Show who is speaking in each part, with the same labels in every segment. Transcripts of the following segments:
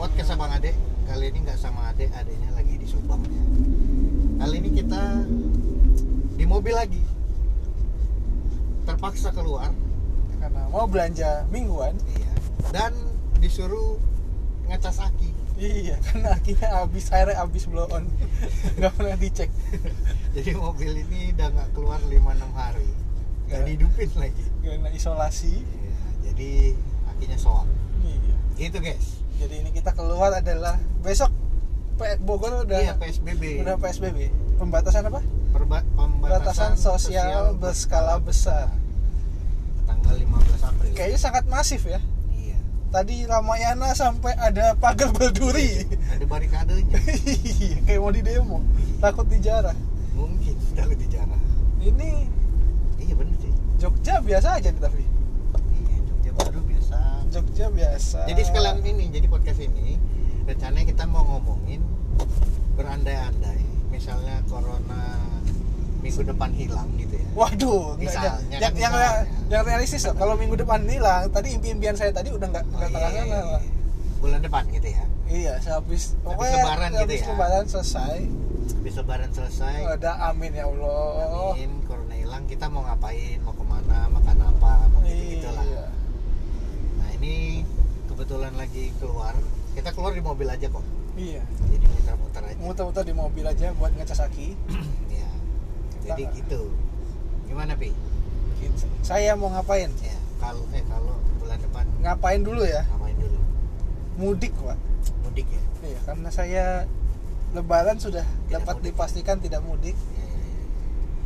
Speaker 1: podcast abang Ade kali ini nggak sama Ade adenya lagi di Subang ya kali ini kita di mobil lagi terpaksa keluar
Speaker 2: karena mau belanja mingguan
Speaker 1: iya dan disuruh ngecas aki
Speaker 2: iya karena akhirnya habis airnya habis blow on nggak pernah dicek
Speaker 1: jadi mobil ini udah nggak keluar 5-6 hari nggak
Speaker 2: Nggak.
Speaker 1: dihidupin lagi
Speaker 2: karena isolasi
Speaker 1: Iya, jadi akinya soal
Speaker 2: iya
Speaker 1: gitu guys
Speaker 2: jadi ini kita keluar adalah besok P- Bogor udah
Speaker 1: iya PSBB
Speaker 2: udah PSBB pembatasan apa
Speaker 1: Perba-
Speaker 2: pembatasan
Speaker 1: pembatasan
Speaker 2: sosial berskala besar
Speaker 1: tanggal 15 April
Speaker 2: kayaknya sangat masif ya
Speaker 1: iya
Speaker 2: tadi Ramayana sampai ada pagar berduri
Speaker 1: ada barikadenya
Speaker 2: Iya, kayak mau di demo takut dijarah
Speaker 1: mungkin takut dijarah
Speaker 2: ini
Speaker 1: iya bener sih
Speaker 2: Jogja biasa aja nih tapi
Speaker 1: iya Jogja baru biasa
Speaker 2: Jogja biasa
Speaker 1: jadi sekalian ini jadi podcast ini rencananya kita mau ngomongin berandai-andai misalnya corona minggu depan hilang gitu ya
Speaker 2: Waduh, nggak ada.
Speaker 1: Misalnya,
Speaker 2: yang,
Speaker 1: kan
Speaker 2: yang,
Speaker 1: misalnya.
Speaker 2: yang realistis lah. Kalau minggu depan hilang, tadi impian-impian saya tadi udah nggak
Speaker 1: Oh,
Speaker 2: nggak
Speaker 1: iya,
Speaker 2: terlaksana
Speaker 1: iya,
Speaker 2: lah.
Speaker 1: iya. bulan depan gitu ya
Speaker 2: Iya, sehabis
Speaker 1: lebaran gitu
Speaker 2: habis
Speaker 1: ya.
Speaker 2: lebaran selesai.
Speaker 1: habis lebaran selesai
Speaker 2: Ada amin ya Allah.
Speaker 1: amin corona hilang kita mau ngapain mau kemana makan apa mau gitu gitulah
Speaker 2: Iya.
Speaker 1: nah ini kebetulan lagi keluar kita keluar di mobil aja kok
Speaker 2: Iya.
Speaker 1: jadi muter-muter aja
Speaker 2: Muter-muter di mobil aja buat ngecas aki.
Speaker 1: ya jadi
Speaker 2: Kita-
Speaker 1: gitu gimana pi
Speaker 2: Gitu. Saya mau ngapain?
Speaker 1: ya kalau eh kalau bulan depan
Speaker 2: Ngapain dulu ya?
Speaker 1: ngapain dulu
Speaker 2: Mudik, Pak.
Speaker 1: mudik ya
Speaker 2: Iya, karena saya lebaran sudah
Speaker 1: Tidak
Speaker 2: dapat
Speaker 1: mudik.
Speaker 2: dipastikan tidak mudik
Speaker 1: Ya, ya, ya.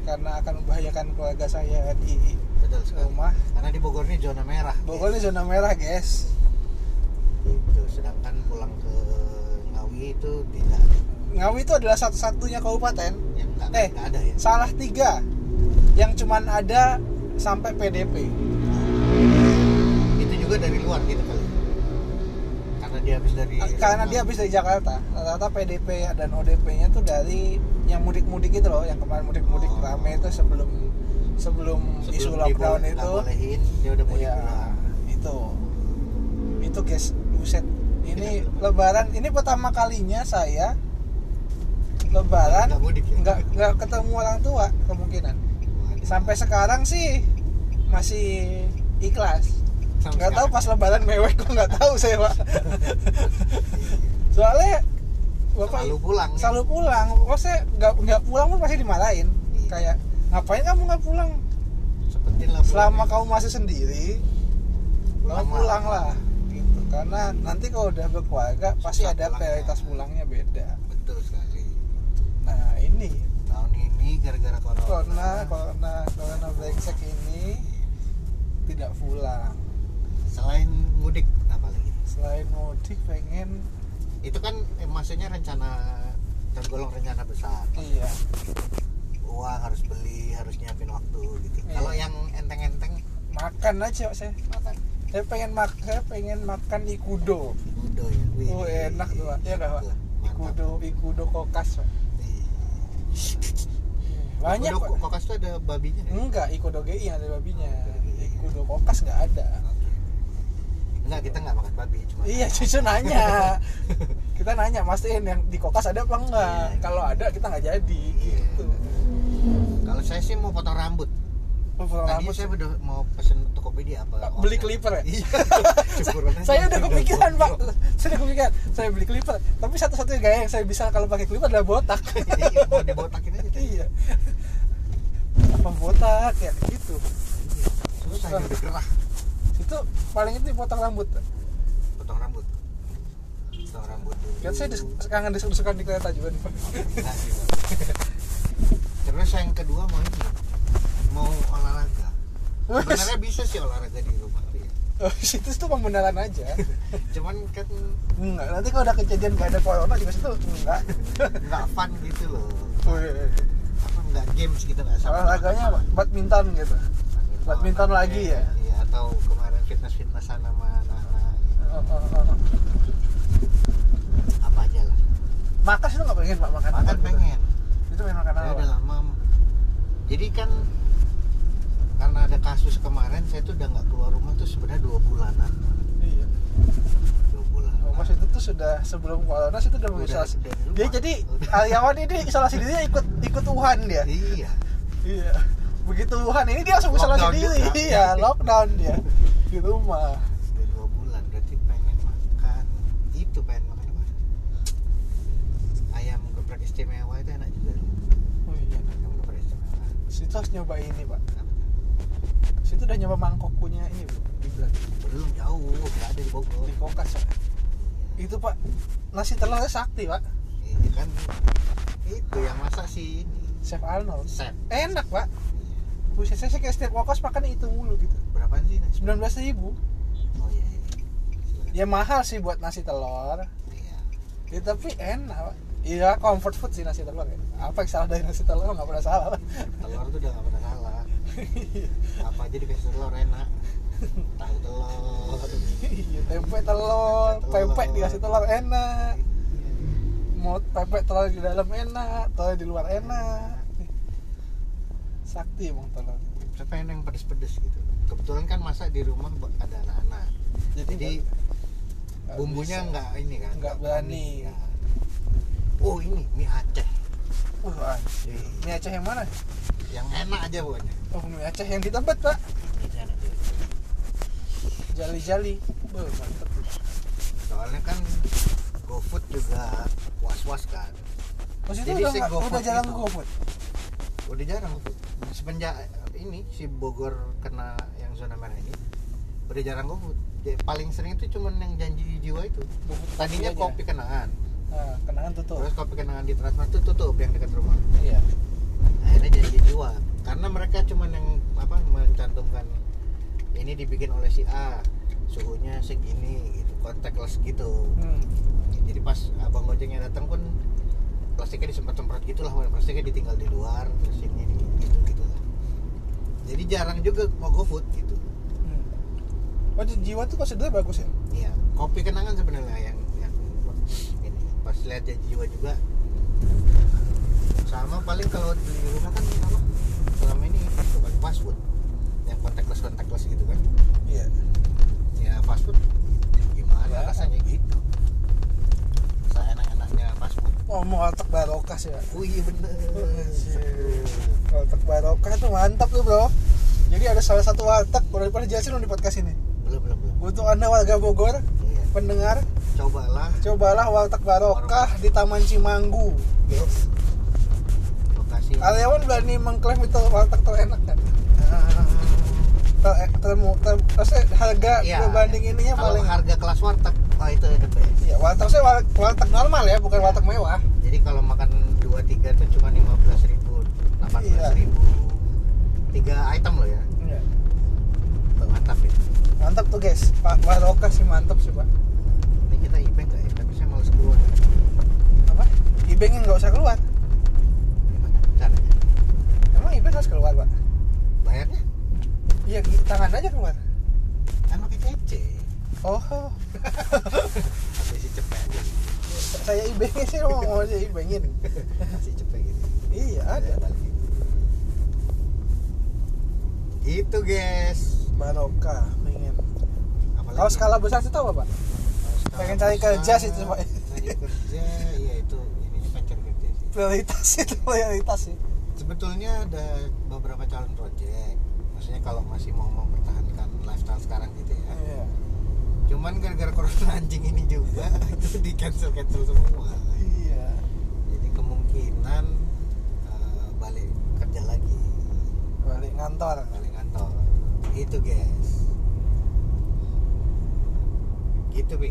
Speaker 2: karena akan membahayakan keluarga saya di
Speaker 1: betul sekali
Speaker 2: rumah.
Speaker 1: karena di Bogor ini zona merah
Speaker 2: Eh, Bogor ini zona merah, guys.
Speaker 1: gitu sedangkan pulang ke Ngawi itu tidak
Speaker 2: Ngawi itu adalah satu-satunya kabupaten
Speaker 1: yang nggak
Speaker 2: Eh.
Speaker 1: nggak ada ya
Speaker 2: salah tiga yang cuman ada sampai PDP.
Speaker 1: itu juga dari luar gitu kali karena dia habis dari
Speaker 2: Ah, Karena
Speaker 1: nah.
Speaker 2: dia habis dari Jakarta. Rata-rata PDP dan ODP-nya tuh dari yang mudik-mudik itu loh, yang kemarin mudik-mudik
Speaker 1: Oh.
Speaker 2: rame itu sebelum sebelum,
Speaker 1: Sebelum Nah,
Speaker 2: isu
Speaker 1: dibo-
Speaker 2: lockdown
Speaker 1: nggak
Speaker 2: itu.
Speaker 1: bolehin, dia udah mudik
Speaker 2: Iya,
Speaker 1: duluan.
Speaker 2: itu. Itu guys, buset. Ini
Speaker 1: Tidak, belum.
Speaker 2: lebaran, ini pertama kalinya saya lebaran
Speaker 1: Nggak mudik ya?
Speaker 2: nggak nggak ketemu orang tua kemungkinan.
Speaker 1: Waduh.
Speaker 2: sampai sekarang sih masih ikhlas
Speaker 1: Sampai
Speaker 2: nggak tahu
Speaker 1: sekarang.
Speaker 2: pas lebaran mewek kok nggak tahu saya pak soalnya bapak
Speaker 1: selalu pulang ya?
Speaker 2: selalu pulang maksudnya nggak nggak pulang pun pasti dimarahin
Speaker 1: Iya.
Speaker 2: kayak ngapain kamu nggak pulang
Speaker 1: seperti lah pulang
Speaker 2: selama
Speaker 1: ya.
Speaker 2: kamu masih sendiri pulang,
Speaker 1: Pulang lah.
Speaker 2: pulang lah gitu karena nanti kalau udah berkeluarga pasti
Speaker 1: Susah
Speaker 2: ada
Speaker 1: pulangnya.
Speaker 2: prioritas pulangnya beda
Speaker 1: ya. betul sekali
Speaker 2: nah ini
Speaker 1: tahun ini gara-gara corona,
Speaker 2: corona corona corona brengsek ini tidak pulang
Speaker 1: selain mudik apalagi
Speaker 2: selain mudik pengen
Speaker 1: itu kan eh, maksudnya rencana tergolong rencana besar
Speaker 2: iya
Speaker 1: uang harus beli harus nyiapin waktu gitu
Speaker 2: Iya.
Speaker 1: kalau yang enteng-enteng
Speaker 2: makan aja Pak, saya
Speaker 1: makan
Speaker 2: saya pengen makan saya pengen makan ikudo
Speaker 1: ikudo ya Wih,
Speaker 2: oh enak tuh pak ya nggak pak
Speaker 1: ikudo
Speaker 2: ikudo ikudo kokas pak banyak
Speaker 1: banyak
Speaker 2: pak Iya.
Speaker 1: Hmm, ikudo kokas tuh ada babinya nggak?
Speaker 2: enggak ikudo GI yang ada babinya
Speaker 1: Oke.
Speaker 2: ikudo kokas nggak ada
Speaker 1: Oke. enggak kita nggak makan babi cuma
Speaker 2: iya cucu nanya kita nanya mastiin yang di kokas ada apa enggak
Speaker 1: Iya.
Speaker 2: kalau ada kita nggak jadi
Speaker 1: Iya.
Speaker 2: gitu
Speaker 1: kalau saya sih mau potong rambut
Speaker 2: Potong
Speaker 1: Tadi
Speaker 2: rambut
Speaker 1: saya
Speaker 2: sih.
Speaker 1: udah mau pesen Tokopedia apa?
Speaker 2: Beli
Speaker 1: online?
Speaker 2: clipper ya?
Speaker 1: Iya. Syukur aja.
Speaker 2: saya udah kepikiran pak saya udah kepikiran saya beli clipper tapi satu-satunya gaya yang saya bisa kalau pakai clipper adalah botak
Speaker 1: Iya, mau dibotakin aja tadi.
Speaker 2: iya apa botak ya gitu
Speaker 1: Iya. Susah
Speaker 2: Susah.
Speaker 1: dia udah gerah
Speaker 2: itu paling itu potong rambut
Speaker 1: potong rambut. Potong rambut dulu.
Speaker 2: kan saya dis- kangen desek-desekan di kereta juga nih pak
Speaker 1: Enggak sih, Bang. Terus yang kedua mau ini mau olahraga. Sebenarnya bisa sih olahraga di rumah tuh ya.
Speaker 2: oh, situ tuh pembenaran aja
Speaker 1: Cuman kan
Speaker 2: enggak nanti kalau udah kejadian gak ada corona juga situ enggak
Speaker 1: nggak fun gitu loh.
Speaker 2: Wih,
Speaker 1: Apa nggak games gitu nggak sama.
Speaker 2: olahraganya apa? badminton gitu Badminton lagi ya?
Speaker 1: Iya, atau kemarin fitness-fitnessan sama anak-anak
Speaker 2: Oh, oh, oh.
Speaker 1: apa aja lah.
Speaker 2: makan itu nggak pengen pak makan
Speaker 1: Makan
Speaker 2: gitu.
Speaker 1: pengen. Iya,
Speaker 2: itu pengen makan
Speaker 1: Saya
Speaker 2: apa
Speaker 1: udah lama. Jadi kan karena ada kasus kemarin saya tuh udah nggak keluar rumah tuh sebenarnya dua bulanan.
Speaker 2: iya
Speaker 1: Dua bulan.
Speaker 2: oh, pas itu tuh sudah sebelum corona sih itu udah mengisolasi
Speaker 1: Udah- udah di
Speaker 2: dia
Speaker 1: rumah.
Speaker 2: jadi ya?
Speaker 1: Udah.
Speaker 2: karyawan ini isolasi dirinya ikut ikut Wuhan dia
Speaker 1: iya
Speaker 2: iya begitu Wuhan ini dia langsung isolasi
Speaker 1: Lockdown
Speaker 2: diri
Speaker 1: juga.
Speaker 2: iya lockdown dia di rumah
Speaker 1: udah dua bulan berarti pengen makan itu pengen makan apa ayam geprek istimewa itu enak juga loh.
Speaker 2: oh iya
Speaker 1: ayam geprek istimewa
Speaker 2: situ harus nyoba ini pak
Speaker 1: Apa?
Speaker 2: situ udah nyoba mangkoknya ini bu di Belanda
Speaker 1: belum jauh nggak ada di Bogor
Speaker 2: di kokas Pak. itu pak nasi telurnya sakti pak
Speaker 1: iya kan itu yang masak sih ini
Speaker 2: Chef Arnold
Speaker 1: set
Speaker 2: enak pak buset saya sih kayak setiap kokos makan itu mulu gitu
Speaker 1: berapaan sih nasi
Speaker 2: 19 ribu
Speaker 1: oh iya iya. Silakan.
Speaker 2: ya mahal sih buat nasi telur
Speaker 1: Iya.
Speaker 2: ya tapi enak pak iya comfort food sih nasi telur ya apa yang salah dari nasi telur nggak pernah salah Pak.
Speaker 1: telur tuh udah gak pernah salah apa aja dikasih telur enak tahu telur
Speaker 2: iya tempe telur
Speaker 1: Tempe telur.
Speaker 2: pempek dikasih telur enak mau pempek telur di dalam enak telur di luar enak sakti emang telur
Speaker 1: saya pengen yang pedes-pedes gitu kebetulan kan masak di rumah buat- ada anak-anak jadi
Speaker 2: nggak- nggak
Speaker 1: bumbunya
Speaker 2: bisa.
Speaker 1: nggak ini kan
Speaker 2: Nggak berani.
Speaker 1: ya. oh ini mie Aceh
Speaker 2: Wah, anjir. mie Aceh yang mana?
Speaker 1: yang enak aja pokoknya
Speaker 2: Oh, mie Aceh yang di tempat, Pak.
Speaker 1: Ini enak tuh.
Speaker 2: Jali-jali. Wah, mantep.
Speaker 1: soalnya kan GoFood juga was-was kan
Speaker 2: Terus itu
Speaker 1: Jadi
Speaker 2: Oh, udah,
Speaker 1: si
Speaker 2: nggak-
Speaker 1: GoFood
Speaker 2: udah jalan
Speaker 1: itu.
Speaker 2: GoFood.
Speaker 1: udah jarang semenjak ini si Bogor kena yang zona merah ini udah jarang GoFood Jadi paling sering itu cuman yang janji jiwa itu
Speaker 2: GoFood
Speaker 1: tadinya
Speaker 2: aja.
Speaker 1: kopi kenangan
Speaker 2: Nah, kenangan tutup.
Speaker 1: terus kopi kenangan di Transmart itu tutup yang dekat rumah
Speaker 2: Iya.
Speaker 1: akhirnya janji jiwa karena mereka cuman yang apa mencantumkan ini dibikin oleh si A suhunya segini gitu contactless gitu
Speaker 2: Hmm.
Speaker 1: jadi pas abang gojengnya datang pun plastiknya disemprot-semprot gitulah lah plastiknya ditinggal di luar terus ini di gitu gitu lah jadi jarang juga mau go food gitu
Speaker 2: Oh, di jiwa tuh kok sebenarnya bagus ya?
Speaker 1: iya kopi kenangan sebenarnya yang, yang ini pas lihat janji jiwa juga sama paling kalau di rumah kan apa selama ini bukan fast food yang contactless contactless gitu kan
Speaker 2: Iya.
Speaker 1: ya fast food gimana
Speaker 2: Ya.
Speaker 1: rasanya gitu seenak enaknya fast food
Speaker 2: Oh, mau otak barokah sih, Pak.
Speaker 1: oh iya bener
Speaker 2: Anjir. Warteg barokah tuh mantap tuh, Bro. Jadi ada salah satu warteg, udah pernah jelasin dong di podcast ini.
Speaker 1: belum belum belum
Speaker 2: Untuk Anda warga Bogor,
Speaker 1: Iya.
Speaker 2: pendengar,
Speaker 1: cobalah
Speaker 2: cobalah warteg barokah di Taman Cimanggu.
Speaker 1: lokasi
Speaker 2: Karyawan berani mengklaim itu warteg terenak kan? Ter, eh, ter, ter, maksudnya harga
Speaker 1: Iya.
Speaker 2: berbanding ininya
Speaker 1: kalau
Speaker 2: paling
Speaker 1: harga kelas warteg oh itu the best
Speaker 2: Iya, warteg saya war- warteg normal ya, bukan
Speaker 1: Iya.
Speaker 2: warteg mewah.
Speaker 1: jadi kalau makan 2 3 tuh cuma 15 ribu 18 ribu tiga item loh ya
Speaker 2: Iya.
Speaker 1: Tuh, mantap ya
Speaker 2: Mantap tuh guys, Pak Barokah sih mantap sih Pak.
Speaker 1: ini kita ibeng nggak ya tapi saya males keluar
Speaker 2: Apa? Ibengnya nggak usah keluar.
Speaker 1: gimana caranya
Speaker 2: Emang Ibeng harus keluar Pak?
Speaker 1: bayarnya
Speaker 2: Iya, gi- tangan aja keluar.
Speaker 1: kan pakai cece
Speaker 2: Oh,
Speaker 1: pakai si cepet gitu
Speaker 2: saya ibengnya sih mau mau saya ibengin.
Speaker 1: si cepet gitu
Speaker 2: Iya ada.
Speaker 1: Ada balik gitu. itu guys
Speaker 2: Barokah pengen.
Speaker 1: apalagi
Speaker 2: Kalau skala besar sih tahu apa Pak? Pengen cari kerja sih itu, Pak.
Speaker 1: Cari kerja, ya itu ininya pengen kerja sih.
Speaker 2: Prioritas itu prioritas sih.
Speaker 1: Sebetulnya ada beberapa calon project. Maksudnya kalau masih mau mempertahankan lifestyle sekarang gitu ya.
Speaker 2: Iya.
Speaker 1: Cuman gara-gara corona anjing ini juga itu di cancel cancel semua.
Speaker 2: Iya.
Speaker 1: Jadi kemungkinan eh, balik kerja lagi,
Speaker 2: Balik ngantor.
Speaker 1: balik kantor. Itu guys. Gitu bi.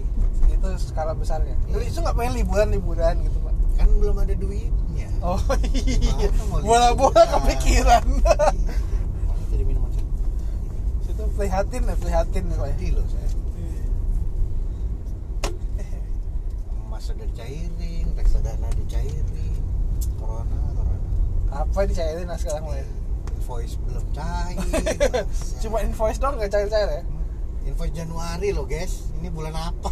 Speaker 2: Itu skala besarnya.
Speaker 1: Iya.
Speaker 2: Itu nggak pengen liburan-liburan gitu Pak.
Speaker 1: Kan belum ada duitnya.
Speaker 2: Oh
Speaker 1: iya.
Speaker 2: iya. Bola-bola kepikiran.
Speaker 1: Mana tadi minuman saya?
Speaker 2: Situ prihatin ya, prihatin ya Pak. ya.
Speaker 1: Sedih loh saya. Emas sudah dicairin, reksadana dicairin, corona, corona.
Speaker 2: Apa yang dicairin lah sekarang mulai?
Speaker 1: Invoice belum cair. bangsa.
Speaker 2: Cuma invoice doang nggak cair-cair ya?
Speaker 1: invoice Januari loh guys. Ini bulan apa?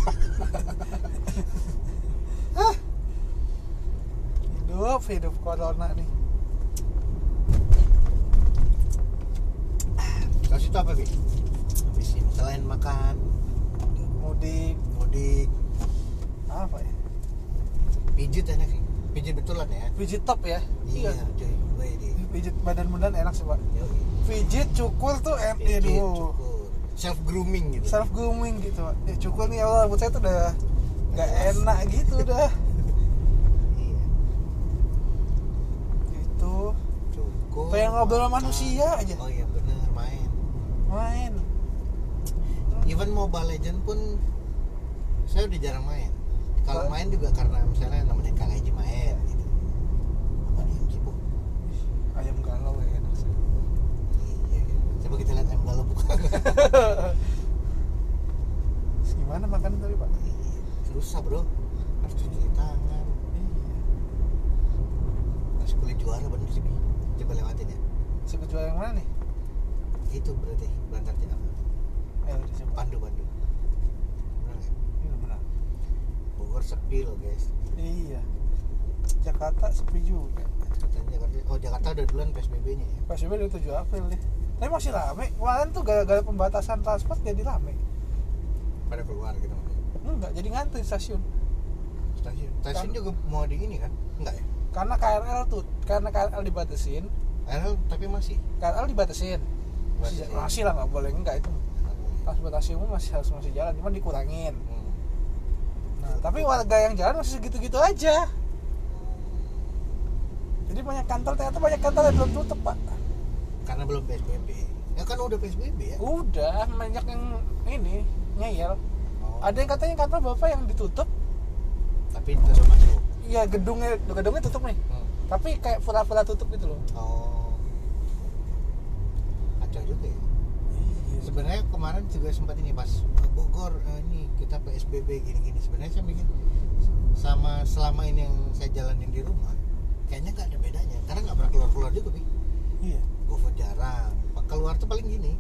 Speaker 2: Hidup, hidup corona nih.
Speaker 1: Kalau situ apa bi? Habis ini selain makan,
Speaker 2: Mudik,
Speaker 1: mudik,
Speaker 2: ah, apa ya?
Speaker 1: pijit enak sih pijit betulan ya
Speaker 2: Pijit top ya?
Speaker 1: iya cuy Wede.
Speaker 2: Ih, Pijit badan-badan enak sih pak.
Speaker 1: Yoi.
Speaker 2: Pijit cukur tuh enak.
Speaker 1: pijit
Speaker 2: Aduh.
Speaker 1: cukur self grooming gitu
Speaker 2: Iya, self grooming gitu pak ya cukur nih Allah rambut saya tuh udah nggak enak gitu udah
Speaker 1: iya
Speaker 2: gitu
Speaker 1: cukur
Speaker 2: Kayak ngobrol sama
Speaker 1: makan.
Speaker 2: manusia aja.
Speaker 1: oh iya bener main
Speaker 2: main
Speaker 1: even mobile legend pun saya udah jarang main kalau
Speaker 2: Kalau-
Speaker 1: main juga karena misalnya namanya kang Eji main gitu apa nih yang sibuk
Speaker 2: ayam galau ya enak sih
Speaker 1: iya iya. coba kita lihat Emgal buka
Speaker 2: Terus gimana makan tadi pak
Speaker 1: Iya, susah bro harus cuci tangan
Speaker 2: iya
Speaker 1: harus kulit juara bener sih Bi. coba lewatin ya
Speaker 2: sebut jual yang mana nih
Speaker 1: itu berarti bantar jalan Eh,
Speaker 2: ayo dicoba
Speaker 1: pandu pandu Bener nggak?
Speaker 2: Ah, ini udah benar
Speaker 1: Bogor sepi loh guys
Speaker 2: iya Jakarta sepi juga
Speaker 1: katanya Jakarta oh Jakarta udah duluan PSBB nya ya
Speaker 2: PSBB dari 7 April nih tapi masih rame kemarin tuh gara-gara pembatasan transport jadi rame
Speaker 1: pada keluar gitu maksudnya.
Speaker 2: enggak jadi ngantri di stasiun
Speaker 1: stasiun stasiun juga mau di ini kan enggak ya
Speaker 2: karena KRL tuh karena KRL dibatasin
Speaker 1: Akhirnya tapi masih
Speaker 2: KRL dibatasin masih,
Speaker 1: Masih.
Speaker 2: masih lah nggak boleh enggak itu transportasi umum masih harus masih jalan cuman dikurangin
Speaker 1: Hmm.
Speaker 2: nah tapi warga yang jalan masih segitu-gitu aja jadi banyak kantor ternyata banyak kantor yang belum tutup pak
Speaker 1: karena belum PSBB ya kan udah PSBB ya
Speaker 2: udah banyak yang ini ngeyel
Speaker 1: Oh.
Speaker 2: ada yang katanya kantor bapak yang ditutup
Speaker 1: tapi tetap masuk
Speaker 2: ya gedungnya gedungnya tutup nih
Speaker 1: Hmm.
Speaker 2: tapi kayak pura-pura tutup gitu loh
Speaker 1: oh kacau juga ya sebenarnya kemarin juga sempat ini pas eh, Bogor eh, ini kita PSBB gini-gini sebenarnya saya mikir sama selama ini yang saya jalanin di rumah kayaknya nggak ada bedanya karena nggak pernah keluar-keluar juga bi
Speaker 2: iya
Speaker 1: GoFood jarang keluar tuh paling gini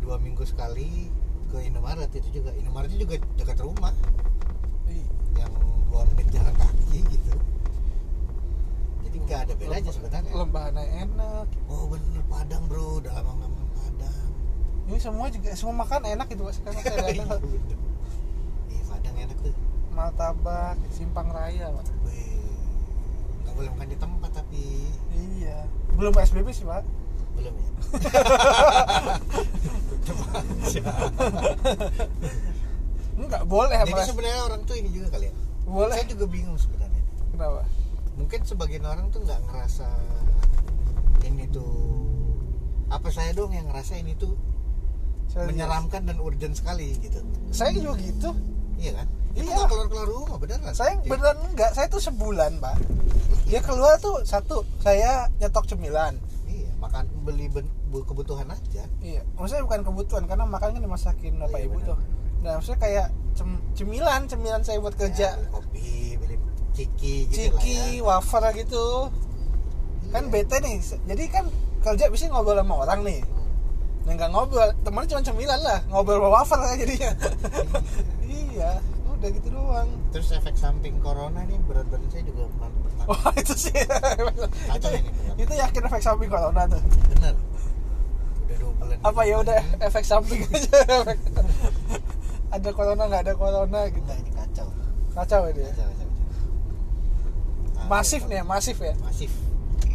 Speaker 1: dua minggu sekali ke Indomaret itu juga Indomaret juga dekat rumah
Speaker 2: Iya.
Speaker 1: yang dua menit jalan kaki gitu jadi nggak ada bedanya sebenarnya
Speaker 2: lembahana enak
Speaker 1: oh bener Padang bro udah lama nggak makan Padang
Speaker 2: ini semua juga semua makan enak gitu pak sekarang saya
Speaker 1: Iya,
Speaker 2: lihat
Speaker 1: bener. Iya, Padang enak tuh
Speaker 2: martabak simpang raya pak
Speaker 1: Wih, nggak boleh makan di tempat tapi
Speaker 2: iya belum psbb sih pak
Speaker 1: belum ya Tepat.
Speaker 2: Enggak boleh apa?
Speaker 1: jadi sebenarnya orang tuh ini juga kali ya
Speaker 2: Boleh.
Speaker 1: saya juga bingung sebenarnya
Speaker 2: Kenapa?
Speaker 1: mungkin sebagian orang tuh nggak ngerasa ini tuh apa saya dong yang ngerasa ini tuh
Speaker 2: Saya
Speaker 1: menyeramkan dan urgent sekali gitu
Speaker 2: Saya juga gitu.
Speaker 1: iya kan itu
Speaker 2: Iya.
Speaker 1: nggak keluar keluar rumah beneran
Speaker 2: Saya
Speaker 1: Iya.
Speaker 2: beneran enggak, saya tuh sebulan, Pak. Dia keluar tuh satu, saya nyetok cemilan.
Speaker 1: iya makan beli ben- bu- kebutuhan aja
Speaker 2: Iya, maksudnya bukan kebutuhan karena makan kan dimasakin
Speaker 1: Oh,
Speaker 2: Bapak
Speaker 1: iya,
Speaker 2: Ibu
Speaker 1: benar,
Speaker 2: tuh.
Speaker 1: benar.
Speaker 2: Nah, maksudnya kayak cem- cemilan, cemilan saya buat
Speaker 1: Ya,
Speaker 2: kerja.
Speaker 1: beli kopi beli ciki gitu lah ya.
Speaker 2: Ciki, wafer gitu. Kan
Speaker 1: Iya.
Speaker 2: bete nih. se- Jadi kan kerja bisa ngobrol sama orang nih.
Speaker 1: Hmm.
Speaker 2: Nah, enggak ngobrol, temennya cuma cemilan lah, ngobrol sama wafer lah jadinya. iya, udah gitu doang.
Speaker 1: terus efek samping corona nih berat badan saya juga malah bertambah
Speaker 2: Wah itu sih itu, ya.
Speaker 1: ini, Bang.
Speaker 2: itu yakin efek samping corona tuh
Speaker 1: bener udah dua bulan
Speaker 2: apa
Speaker 1: di
Speaker 2: ya
Speaker 1: rumah
Speaker 2: udah
Speaker 1: ini.
Speaker 2: efek samping aja efek- ada corona nggak ada corona gitu
Speaker 1: enggak ini kacau
Speaker 2: kacau ini ya
Speaker 1: kacau kacau, kacau. Ah,
Speaker 2: masif
Speaker 1: iya,
Speaker 2: nih ya, masif ya
Speaker 1: masif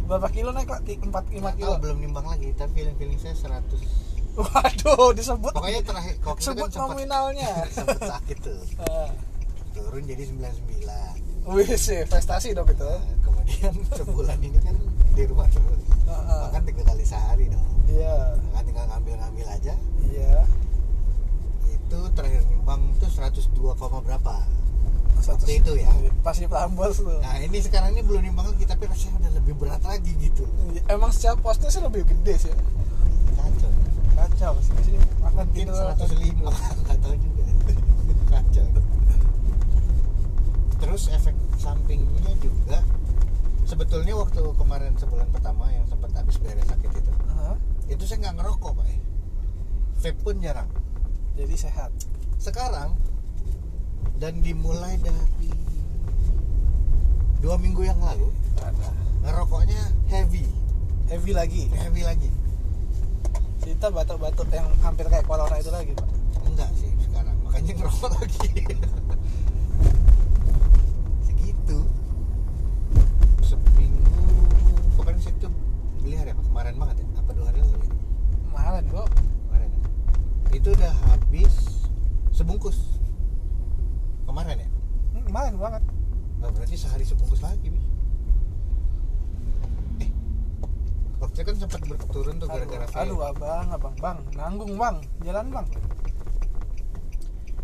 Speaker 2: berapa kilo naik pak Ti- empat lima
Speaker 1: Nggak
Speaker 2: kilo
Speaker 1: tahu, belum nimbang lagi tapi feeling feeling saya 100
Speaker 2: waduh disebut
Speaker 1: pokoknya terakhir kok
Speaker 2: sebut nominalnya
Speaker 1: sempet sakit tuh
Speaker 2: Ah,
Speaker 1: turun jadi 99
Speaker 2: wih sih prestasi dong itu
Speaker 1: Nah, kemudian sebulan ini kan di rumah terus
Speaker 2: Ah, ah.
Speaker 1: makan tiga kali sehari dong
Speaker 2: iya
Speaker 1: kan tinggal ngambil ngambil aja
Speaker 2: iya
Speaker 1: itu terakhir nimbang itu 102, koma berapa waktu itu ya
Speaker 2: pasti pelambos tuh
Speaker 1: nah ini sekarang ini belum nimbang lagi tapi rasanya udah lebih berat lagi gitu
Speaker 2: emang secara posnya sih lebih gede sih
Speaker 1: kacau
Speaker 2: kacau sih sih makan
Speaker 1: mungkin
Speaker 2: gitu
Speaker 1: 105 nggak tahu juga kacau terus efek sampingnya juga sebetulnya waktu kemarin sebulan pertama yang sempat habis beres sakit itu
Speaker 2: Ah,
Speaker 1: itu saya nggak ngerokok pak eh. vape pun jarang
Speaker 2: jadi sehat
Speaker 1: sekarang dan dimulai dari dua minggu yang lalu
Speaker 2: Ada.
Speaker 1: ngerokoknya heavy
Speaker 2: heavy lagi
Speaker 1: heavy lagi
Speaker 2: cerita batuk-batuk yang hampir kayak corona itu lagi pak
Speaker 1: enggak sih sekarang makanya ngerokok lagi ya? ya?
Speaker 2: mahal Hmm, banget
Speaker 1: Nah, berarti sehari sebungkus lagi nih. Eh, waktu kan sempat berturun tuh gara-gara vape.
Speaker 2: aduh, aduh abang abang bang nanggung bang jalan bang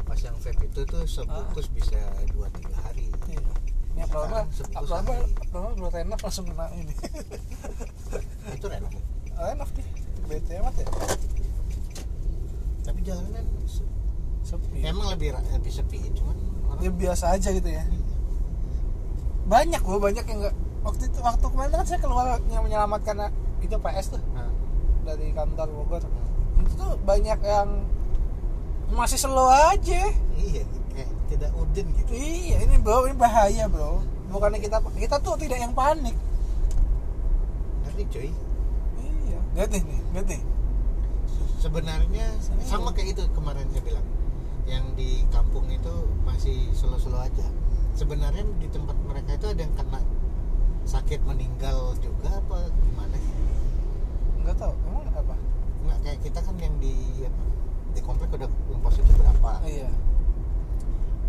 Speaker 1: Pas yang vape itu tuh sebungkus bisa 2-3 hari.
Speaker 2: iya ini apa apa
Speaker 1: Sekarang sebungkus
Speaker 2: apa apa
Speaker 1: lagi.
Speaker 2: apa dua tenap langsung kena ini
Speaker 1: Itu enak.
Speaker 2: Ah, enak deh bete amat ya
Speaker 1: Tapi jalanan se-
Speaker 2: sepi
Speaker 1: emang lebih ra- lebih sepi, cuman
Speaker 2: ya
Speaker 1: orang
Speaker 2: biasa aja gitu ya banyak gua banyak yang nggak waktu itu waktu kemarin kan saya keluar yang menyelamatkan a- itu PS tuh
Speaker 1: Nah,
Speaker 2: dari kantor Bogor itu tuh banyak yang masih slow aja
Speaker 1: iya, kayak tidak udin gitu.
Speaker 2: iya ini bro ini bahaya bro bukannya kita kita tuh tidak yang panik
Speaker 1: Ngeri cuy.
Speaker 2: iya lihat nih nih lihat nih
Speaker 1: Sebenarnya
Speaker 2: Sebenarnya.
Speaker 1: sama kayak itu kemarin saya bilang. Yang di kampung itu masih slow-slow aja. Sebenarnya di tempat mereka itu ada yang kena sakit meninggal juga apa gimana ya? sih?
Speaker 2: nggak tahu emang apa
Speaker 1: Enggak kayak kita kan yang di apa, di komplek udah ongkos itu berapa?
Speaker 2: iya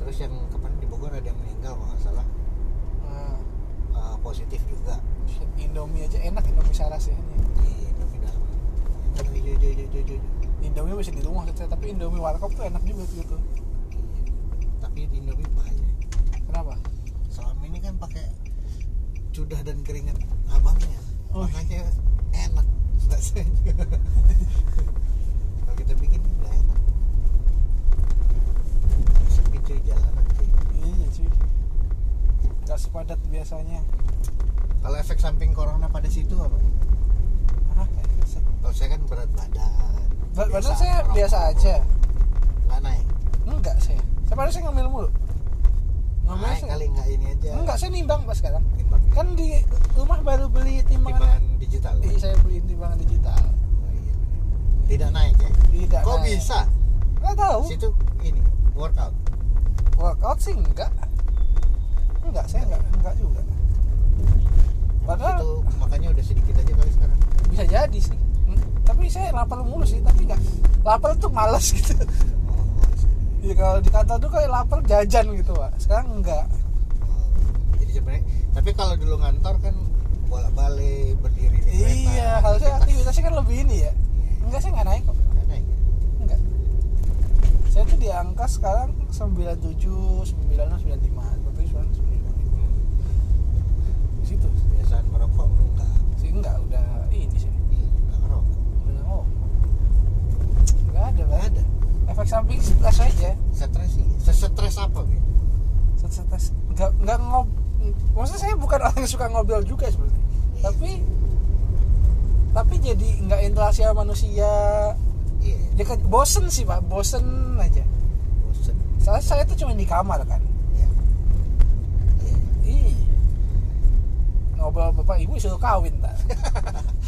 Speaker 1: Terus yang kemarin di Bogor ada yang meninggal kalau nggak salah
Speaker 2: Ah,
Speaker 1: eh, positif juga
Speaker 2: shit, Indomie aja enak Indomie saras ya ini.
Speaker 1: di Indomie dalam. Kan hijau hijau hijau hijau.
Speaker 2: Indomie bisa di rumah gitu ya, tapi Indomie warkop tuh enak juga tuh gitu
Speaker 1: Tapi di Indomie bahaya.
Speaker 2: kenapa
Speaker 1: Selama ini kan pakai cudah dan keringat abangnya.
Speaker 2: Oh.
Speaker 1: Makanya enak rasanya. Kalau kita bikin nggak enak. Sepi cuy jalanan sih.
Speaker 2: iya cuy nggak sepadat biasanya
Speaker 1: Kalau efek samping corona pada situ apa?
Speaker 2: ah kayak gitu.
Speaker 1: Kalau saya kan berat badan.
Speaker 2: Ba- padahal
Speaker 1: Biasa,
Speaker 2: saya
Speaker 1: merokok.
Speaker 2: biasa aja
Speaker 1: Nggak naik.
Speaker 2: enggak saya saya padahal saya ngambil mulu ngambil
Speaker 1: Naik
Speaker 2: saya-
Speaker 1: kali nggak ini aja.
Speaker 2: Ya, enggak saya nimbang pak sekarang
Speaker 1: Timbang.
Speaker 2: kan di rumah baru beli timbangan
Speaker 1: Timbangan digital.
Speaker 2: Iya saya beli timbangan digital
Speaker 1: Oh, iya. Tidak naik ya?
Speaker 2: tidak
Speaker 1: Kok
Speaker 2: naik.
Speaker 1: bisa?
Speaker 2: nggak tahu
Speaker 1: Situ ini workout.
Speaker 2: workout sih enggak enggak saya enggak enggak juga Padahal-
Speaker 1: Itu makanya udah sedikit aja kali sekarang.
Speaker 2: bisa jadi sih Hmm, tapi saya lapar mulu sih tapi enggak lapar tuh malas gitu
Speaker 1: Oh, oh,
Speaker 2: ya kalau di kantor tuh kayak lapar jajan gitu pak sekarang enggak
Speaker 1: Oh, iya. Jadi sebenarnya tapi kalau dulu ngantor kan bolak-balik berdiri di kereta.
Speaker 2: iya harusnya
Speaker 1: aktivitas.
Speaker 2: aktivitasnya kan lebih ini ya enggak saya enggak naik kok
Speaker 1: Nggak naik ya?
Speaker 2: enggak saya tuh di angka sekarang 97 96 95 tapi 99
Speaker 1: Hmm.
Speaker 2: di situ
Speaker 1: Kebiasaan merokok lu nggak?
Speaker 2: sih enggak udah ini sih
Speaker 1: Iya, nggak ngerokok.
Speaker 2: udah oh enggak ada
Speaker 1: Nggak
Speaker 2: Pak.
Speaker 1: ada.
Speaker 2: efek samping stres aja
Speaker 1: Stres sih. Sesetres apa gitu?
Speaker 2: stres stres enggak enggak ngob maksudnya saya bukan orang yang suka ngobrol juga sebenarnya tapi tapi jadi enggak interaksi sama manusia
Speaker 1: iya,
Speaker 2: ya kan bosen sih pak bosen aja
Speaker 1: bosen.
Speaker 2: saya saya tuh cuma di kamar kan
Speaker 1: Iya. Iya.
Speaker 2: Ih. Ngobrol bapak ibu suruh kawin tak.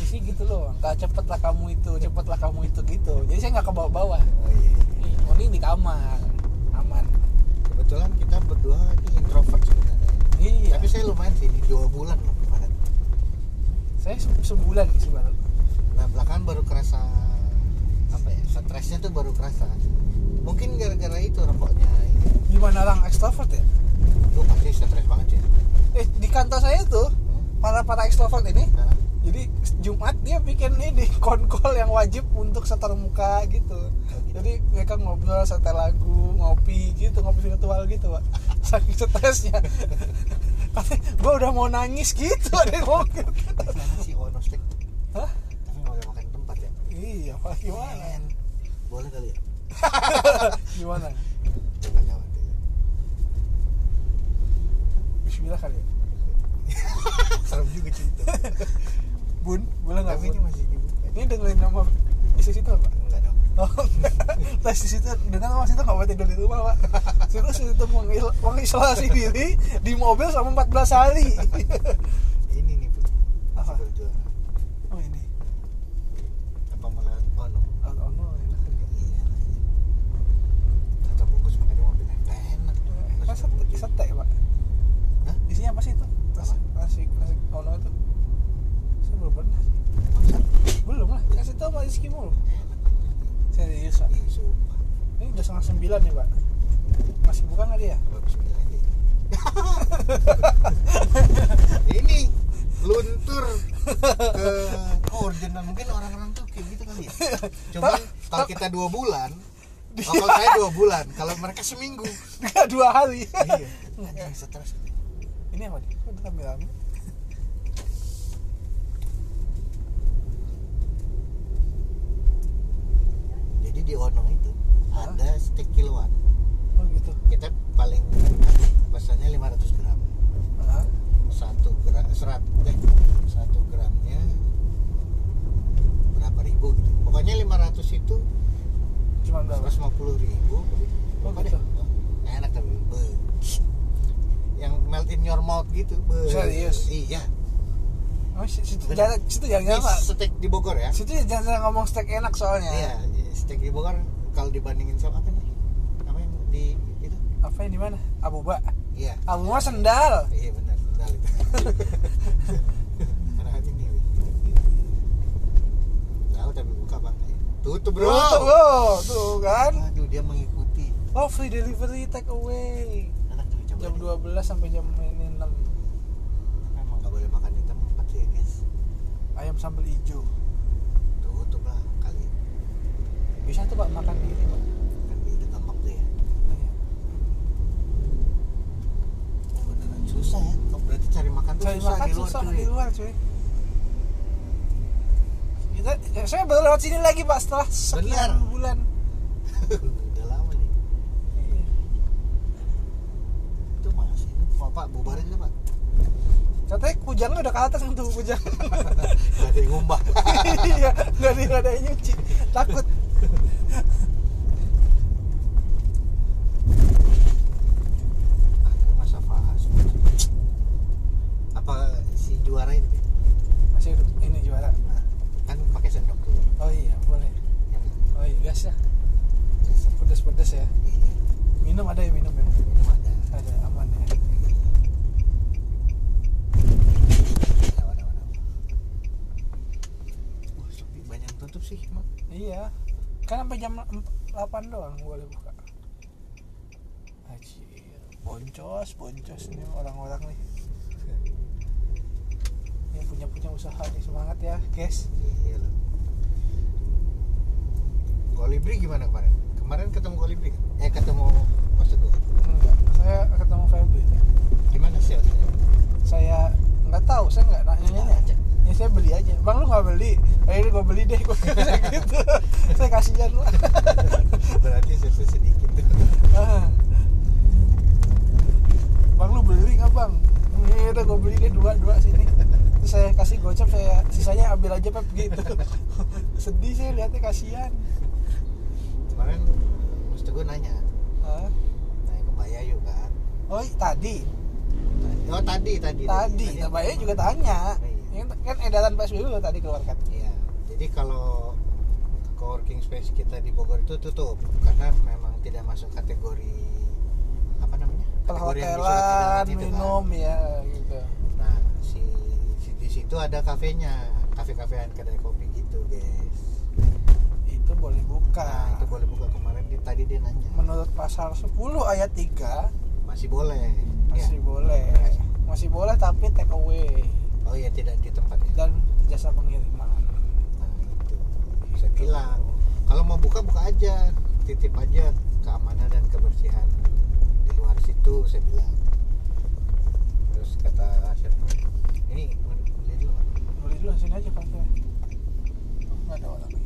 Speaker 2: Isi gitu loh, nggak cepetlah kamu itu, cepetlah kamu itu gitu. Jadi saya nggak ke bawah-bawah.
Speaker 1: Oh iya.
Speaker 2: Ih, Oh ini di kamar, aman.
Speaker 1: Kebetulan kita berdua ini introvert sebenarnya.
Speaker 2: Iya.
Speaker 1: Tapi saya lumayan sih di dua bulan loh kemarin.
Speaker 2: saya se- sebulan sih sebulan.
Speaker 1: Nah belakangan baru kerasa apa ya? Stresnya tuh baru kerasa. Mungkin gara-gara itu rokoknya ini.
Speaker 2: Gimana orang ekstrovert ya?
Speaker 1: Lu pasti stres banget ya.
Speaker 2: Eh di kantor saya tuh para para ekstrovert ini,
Speaker 1: Nah,
Speaker 2: jadi Jumat dia bikin ini konkol yang wajib untuk setor muka gitu. Jadi mereka ngobrol setel lagu, ngopi gitu, ngopi virtual gitu, Pak. Saking stresnya. gue udah mau nangis gitu, ada yang ngomong gitu.
Speaker 1: Tapi si onostek.
Speaker 2: Hah?
Speaker 1: Tapi nggak boleh makan tempat ya.
Speaker 2: Iya, Pak, gimana?
Speaker 1: Men, Boleh kali ya?
Speaker 2: Gimana?
Speaker 1: Coba lewat dulu.
Speaker 2: Bismillah kali ya.
Speaker 1: Serem juga cerita.
Speaker 2: Bun, boleh nggak,
Speaker 1: Tapi
Speaker 2: Bun?
Speaker 1: ini masih dibuka.
Speaker 2: Ini dengerin nama isi situ apa?
Speaker 1: Enggak dong.
Speaker 2: Oh, tes di situ dengan sama situ nggak boleh tidur di rumah pak. Situ situ mengil- mengisolasi diri di mobil selama 14 hari.
Speaker 1: Ini nih bu.
Speaker 2: Apa?
Speaker 1: Masih berjuang.
Speaker 2: Oh ini,
Speaker 1: Apa mau lewat ono?
Speaker 2: oh, oh, no, enak.
Speaker 1: Iya. Atau bungkus makan di mobil. Nggak enak.
Speaker 2: Apa sete,
Speaker 1: Iya.
Speaker 2: sete pak?
Speaker 1: Hah?
Speaker 2: Isinya apa sih itu? Nasi, nasi, nasi ono itu Saya belum pernah sih
Speaker 1: Masa?
Speaker 2: Belum lah, kasih tau sama Rizky mulu Serius pak
Speaker 1: Ih, sumpah.
Speaker 2: Ini udah setengah sembilan nih pak Masih buka nggak dia?
Speaker 1: Iya. Apa bismillah aja? ini luntur ke urgent Nah, mungkin orang-orang tuh kayak gitu kali ya cuman kalau kita dua bulan oh, kalau saya dua bulan kalau mereka seminggu
Speaker 2: Nggak, dua hari
Speaker 1: iya Anjing, stres
Speaker 2: ini apa nih Kok udah rame-rame
Speaker 1: jadi di Ono itu
Speaker 2: Hah?
Speaker 1: ada steak kiloan
Speaker 2: oh gitu
Speaker 1: kita paling enak pesannya 500 gram
Speaker 2: Hah?
Speaker 1: satu gram serat eh satu gramnya berapa ribu gitu pokoknya 500 itu
Speaker 2: cuman berapa
Speaker 1: 150 ribu
Speaker 2: Oh,
Speaker 1: Apa
Speaker 2: gitu.
Speaker 1: deh? enak tapi be. yang melt in your mouth gitu be.
Speaker 2: Serius?
Speaker 1: iya
Speaker 2: oh, si- situ
Speaker 1: Bener.
Speaker 2: jarang situ jarang
Speaker 1: ini
Speaker 2: jarang Pak.
Speaker 1: steak di Bogor ya
Speaker 2: situ jarang jarang ngomong steak enak soalnya
Speaker 1: iya steak di Bogor kalau dibandingin sama apa nih apa yang di itu
Speaker 2: apa yang di mana abu ba
Speaker 1: iya
Speaker 2: abu mah sendal
Speaker 1: iya benar sendal itu karena hati nih Wi. tahu tapi buka bang tutup bro
Speaker 2: tuh, tuh, tuh kan
Speaker 1: aduh dia mengikuti
Speaker 2: oh free delivery take away
Speaker 1: enak tuh coba
Speaker 2: jam
Speaker 1: deh.
Speaker 2: 12 sampai jam ini 6
Speaker 1: Tapi emang nggak boleh makan di tempat sih ya, guys
Speaker 2: ayam sambal hijau
Speaker 1: tutup lah kali
Speaker 2: bisa tuh pak makan di ini pak Iya.
Speaker 1: kan di itu gampang tuh ya Oh, beneran susah ya Kok berarti cari makan tuh
Speaker 2: cari
Speaker 1: susah
Speaker 2: makan
Speaker 1: di luar
Speaker 2: susah
Speaker 1: cuy.
Speaker 2: di luar cuy kita ya, saya baru lewat sini lagi pak setelah sekian
Speaker 1: Benar.
Speaker 2: bulan
Speaker 1: udah lama nih Iya. itu masih pak pak bubarin aja pak
Speaker 2: katanya kujangnya udah ke atas tuh kujang
Speaker 1: gak ada yang ngumbah
Speaker 2: iya nggak ada nggak ada yang nyuci takut
Speaker 1: Aduh, masa fahas apa si juara itu
Speaker 2: masih ini juara
Speaker 1: nah, kan pakai sendok tuh
Speaker 2: oh iya boleh
Speaker 1: ya kan?
Speaker 2: oh iya gas ya
Speaker 1: Pakai sendok.
Speaker 2: pedes pedes ya
Speaker 1: Iya,
Speaker 2: minum ada ya minum ya
Speaker 1: minum ada.
Speaker 2: ada aman ya
Speaker 1: Ada, ada, ada. Wah, sepi. banyak yang tutup sih Mak.
Speaker 2: iya kan sampai jam emp- 8 doang boleh buka Aji, boncos, boncos nih orang-orang nih yang punya punya usaha nih semangat ya guys
Speaker 1: Iya loh. Kolibri gimana kemarin? Kemarin ketemu kolibri kan? Eh ketemu maksud gua.
Speaker 2: enggak saya ketemu Febri
Speaker 1: Gimana sih
Speaker 2: saya nggak tahu saya nggak nanya nanya
Speaker 1: aja.
Speaker 2: ya saya beli aja bang lu nggak beli akhirnya gue beli deh gue bilang gitu saya kasihan lah
Speaker 1: Berarti sesuatu sedikit tuh.
Speaker 2: Ah. bang lu beli nggak bang ini udah gue beli deh dua dua sini terus saya kasih gocap saya sisanya ambil aja pep gitu sedih saya lihatnya kasihan
Speaker 1: Kemarin maksud gua nanya,
Speaker 2: Ah.
Speaker 1: nanya ke Mbak Yayu kan.
Speaker 2: oh i- tadi
Speaker 1: Tadi- Oh tadi tadi.
Speaker 2: tadi Tabaya juga tanya
Speaker 1: Iya.
Speaker 2: Ini kan edaran PSBB lo tadi kan? keluarkan
Speaker 1: Iya. Jadi kalau co-working space kita di Bogor itu tutup karena memang tidak masuk kategori apa namanya? Kategori yang bisa
Speaker 2: perhotelan
Speaker 1: kita gitu kan.
Speaker 2: minum ya gitu
Speaker 1: Nah, si, si di situ ada kafenya, kafe-kafean kedai kopi gitu, guys.
Speaker 2: itu boleh buka
Speaker 1: Nah, itu boleh buka kemarin dia tadi dia nanya.
Speaker 2: menurut pasal 10 ayat 3
Speaker 1: Masih boleh. Ya.
Speaker 2: masih boleh masih boleh tapi take away
Speaker 1: Oh iya tidak di tempat ya.
Speaker 2: dan jasa pengiriman
Speaker 1: Nah, itu. Saya bilang, kalau mau buka buka aja, titip aja keamanan dan kebersihan di luar situ saya bilang. Terus kata siapa? Ini beli dulu Pak.
Speaker 2: boleh dulu sini aja pakai Oh, nggak ada orang ini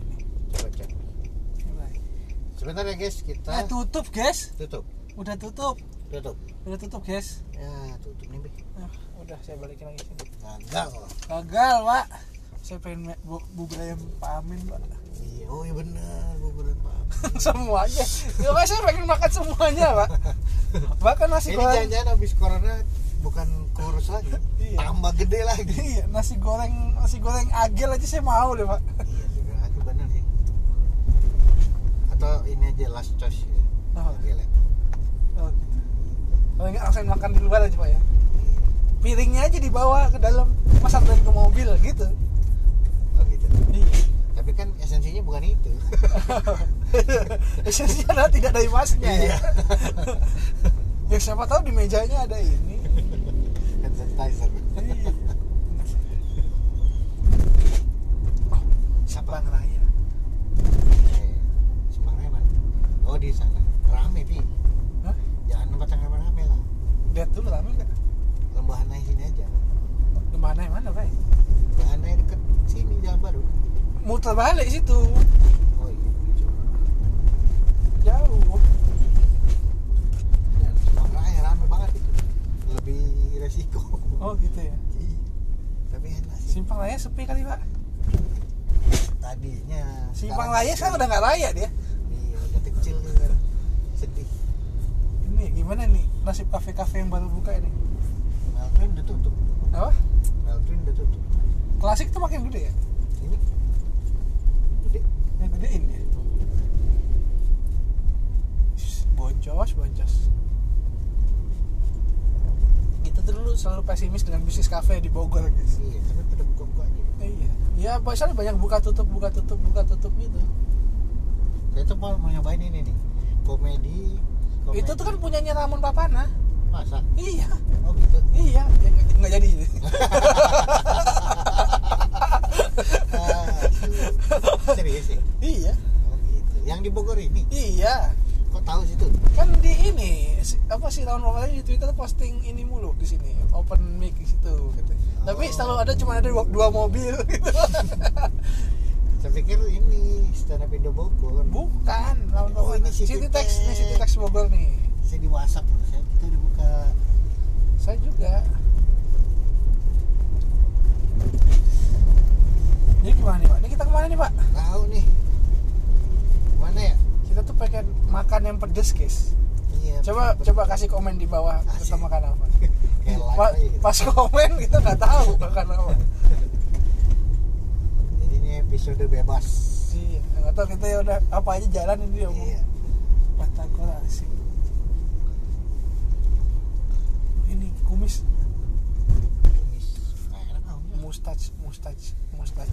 Speaker 1: Coba cek.
Speaker 2: Coba.
Speaker 1: Sebentar ya guys, kita
Speaker 2: nah tutup guys
Speaker 1: tutup.
Speaker 2: udah tutup
Speaker 1: Tutup.
Speaker 2: udah tutup guys
Speaker 1: Ya, tutup nih, Bi.
Speaker 2: nah, udah saya balikin lagi sini
Speaker 1: Gagal.
Speaker 2: gagal pak saya pengen me- bu bubur ayam Pak Amin pak
Speaker 1: Iya, oh iya benar, buburan Pak.
Speaker 2: semuanya ya Pak, saya pengen makan semuanya pak bahkan nasi
Speaker 1: Ini
Speaker 2: goreng
Speaker 1: jangan-jangan habis corona bukan kurus lagi,
Speaker 2: Iya.
Speaker 1: tambah gede lagi.
Speaker 2: iya nasi goreng nasi goreng agel aja saya mau deh pak
Speaker 1: iya juga, aku benar sih. Atau ini aja last choice ya.
Speaker 2: Oh,
Speaker 1: Oke, Lep.
Speaker 2: oh, gitu. Paling nggak langsung makan di luar aja pak ya
Speaker 1: Iya.
Speaker 2: piringnya aja dibawa ke dalam mas samperin ke mobil gitu
Speaker 1: Oh gitu.
Speaker 2: iya
Speaker 1: Tapi kan esensinya bukan itu.
Speaker 2: esensinya Iya. adalah tidak dari masnya ya. ya siapa tahu di mejanya ada ini
Speaker 1: Kan sanitizer
Speaker 2: Iya. Oh, Sabang Raya.
Speaker 1: Simpang Raya mana? Eh, oh di sana rame pi
Speaker 2: Hah?
Speaker 1: jangan tempat yang rame rame lah
Speaker 2: Lihat dulu rame nggak?
Speaker 1: lembahan naik sini aja
Speaker 2: Di Mana yang mana, Pak?
Speaker 1: lembahan naik deket sini jalan baru
Speaker 2: Muter balik situ.
Speaker 1: oh iya coba
Speaker 2: Jauh.
Speaker 1: dan Simpang Raya ya, rame banget itu lebih resiko
Speaker 2: Oh, gitu ya.
Speaker 1: Iya. tapi enak sih
Speaker 2: Simpang Raya sepi kali, Pak.
Speaker 1: tadinya
Speaker 2: Simpang
Speaker 1: sekarang
Speaker 2: Raya
Speaker 1: kecil.
Speaker 2: sekarang udah nggak raya dia.
Speaker 1: iya udah kecil tuh kan. sedih
Speaker 2: Ini gimana nih nasib kafe-kafe yang baru buka ini?
Speaker 1: Melvin udah tutup
Speaker 2: Apa?
Speaker 1: Melvin udah tutup
Speaker 2: Klasik tuh makin gede ya?
Speaker 1: ini gede
Speaker 2: Ya gedein ya. Ih, Boncos, boncos. Kita tuh dulu selalu pesimis dengan bisnis kafe di Bogor, guys.
Speaker 1: iya tapi pada buka-buka aja
Speaker 2: Iya. Ya, biasanya banyak buka tutup, buka tutup, buka tutup gitu.
Speaker 1: saya tuh mau mau nyobain ini nih komedi, komedi.
Speaker 2: Itu tuh kan punyanya Ramon Papana.
Speaker 1: masa
Speaker 2: Iya,
Speaker 1: oh gitu
Speaker 2: iya. Ya, nggak- nggak jadi.
Speaker 1: Ah, serius ya
Speaker 2: iya,
Speaker 1: oh gitu yang di Bogor ini
Speaker 2: iya.
Speaker 1: kok tahu situ
Speaker 2: Kan di ini si- apa sih Ramon Papana di Twitter posting ini mulu di sini, open mic di situ gitu. Tapi
Speaker 1: Oh.
Speaker 2: selalu ada cuma ada dua, dua mobil gitu.
Speaker 1: saya pikir ini stand up Indo Bogor
Speaker 2: Bukan, Ramon
Speaker 1: Oh,
Speaker 2: Papana.
Speaker 1: ini City
Speaker 2: City Tax, ini
Speaker 1: Tax.
Speaker 2: City Tax Bogor nih.
Speaker 1: saya di WhatsApp saya itu dibuka
Speaker 2: Saya juga. Jadi gimana nih, Pak? Ini kita kemana nih, Pak?
Speaker 1: tahu nih mana ya
Speaker 2: kita tuh pengen makan yang pedes guys
Speaker 1: iya
Speaker 2: coba
Speaker 1: betul.
Speaker 2: coba kasih komen di bawah kita
Speaker 1: Asik.
Speaker 2: makan apa
Speaker 1: kayak live
Speaker 2: Pa-
Speaker 1: aja gitu.
Speaker 2: pas komen kita nggak tahu makan apa
Speaker 1: jadi ini episode bebas
Speaker 2: iya nggak tahu kita ya udah apa aja jalan ini ya, dia mau
Speaker 1: iya
Speaker 2: batagor asik ini kumis
Speaker 1: Tumis. Nah, enak tau nggak?
Speaker 2: mustach mustach mustach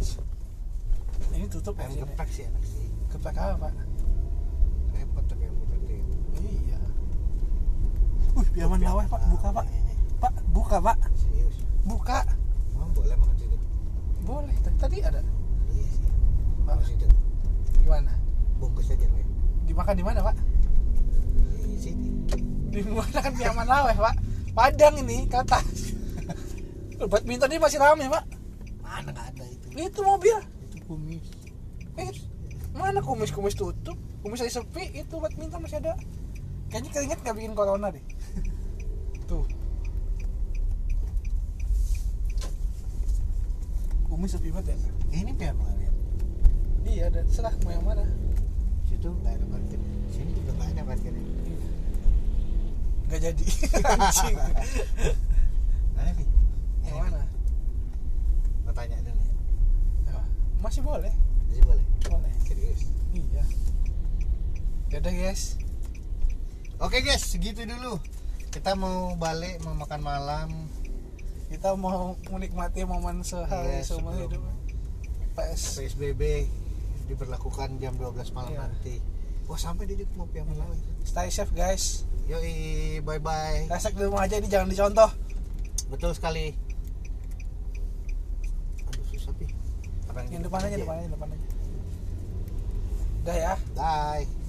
Speaker 2: ini tutup ya
Speaker 1: ayam
Speaker 2: sini
Speaker 1: geprek sih enak sih
Speaker 2: geprek apa pak
Speaker 1: repot tapi ayam geprek ya. deh.
Speaker 2: iya Wih, biaman
Speaker 1: Kopi
Speaker 2: laweh
Speaker 1: apa?
Speaker 2: pak, buka pak, pak, buka pak,
Speaker 1: Nah, serius
Speaker 2: buka,
Speaker 1: emang boleh makan situ
Speaker 2: boleh. Tadi ada,
Speaker 1: iya sih
Speaker 2: Pak.
Speaker 1: makan situ
Speaker 2: gimana?
Speaker 1: bungkus aja gue
Speaker 2: Dimakan di mana pak?
Speaker 1: di sini
Speaker 2: di mana kan Piaman Laweh pak Padang ini kata badminton ini masih rame pak
Speaker 1: mana nggak ada itu
Speaker 2: itu mobil
Speaker 1: itu kumis
Speaker 2: eh, mana kumis kumis tutup kumis aja sepi itu badminton masih ada kayaknya keringet nggak bikin corona deh tuh kumis sepi banget ya
Speaker 1: eh, ini pian malah ya
Speaker 2: iya ada serah mau yang mana
Speaker 1: situ nggak ada parkir sini juga nggak ada parkirnya
Speaker 2: nggak jadi anjing
Speaker 1: mana sih
Speaker 2: yang mana
Speaker 1: mau tanya dulu ya
Speaker 2: masih boleh
Speaker 1: jadi boleh
Speaker 2: boleh
Speaker 1: serius
Speaker 2: iya Yaudah guys
Speaker 1: oke guys segitu dulu kita mau balik mau makan malam
Speaker 2: kita mau menikmati momen sehari
Speaker 1: Iya,
Speaker 2: seumur
Speaker 1: sebelum
Speaker 2: hidup PS
Speaker 1: PSBB diberlakukan jam 12 malam
Speaker 2: Iya.
Speaker 1: nanti wah sampai dia juga mau pian malam
Speaker 2: stay safe guys
Speaker 1: yoi bye bye
Speaker 2: hashtag di rumah aja ini jangan dicontoh
Speaker 1: betul sekali aduh susah pi apa
Speaker 2: yang depan aja depan aja depan aja udah ya
Speaker 1: bye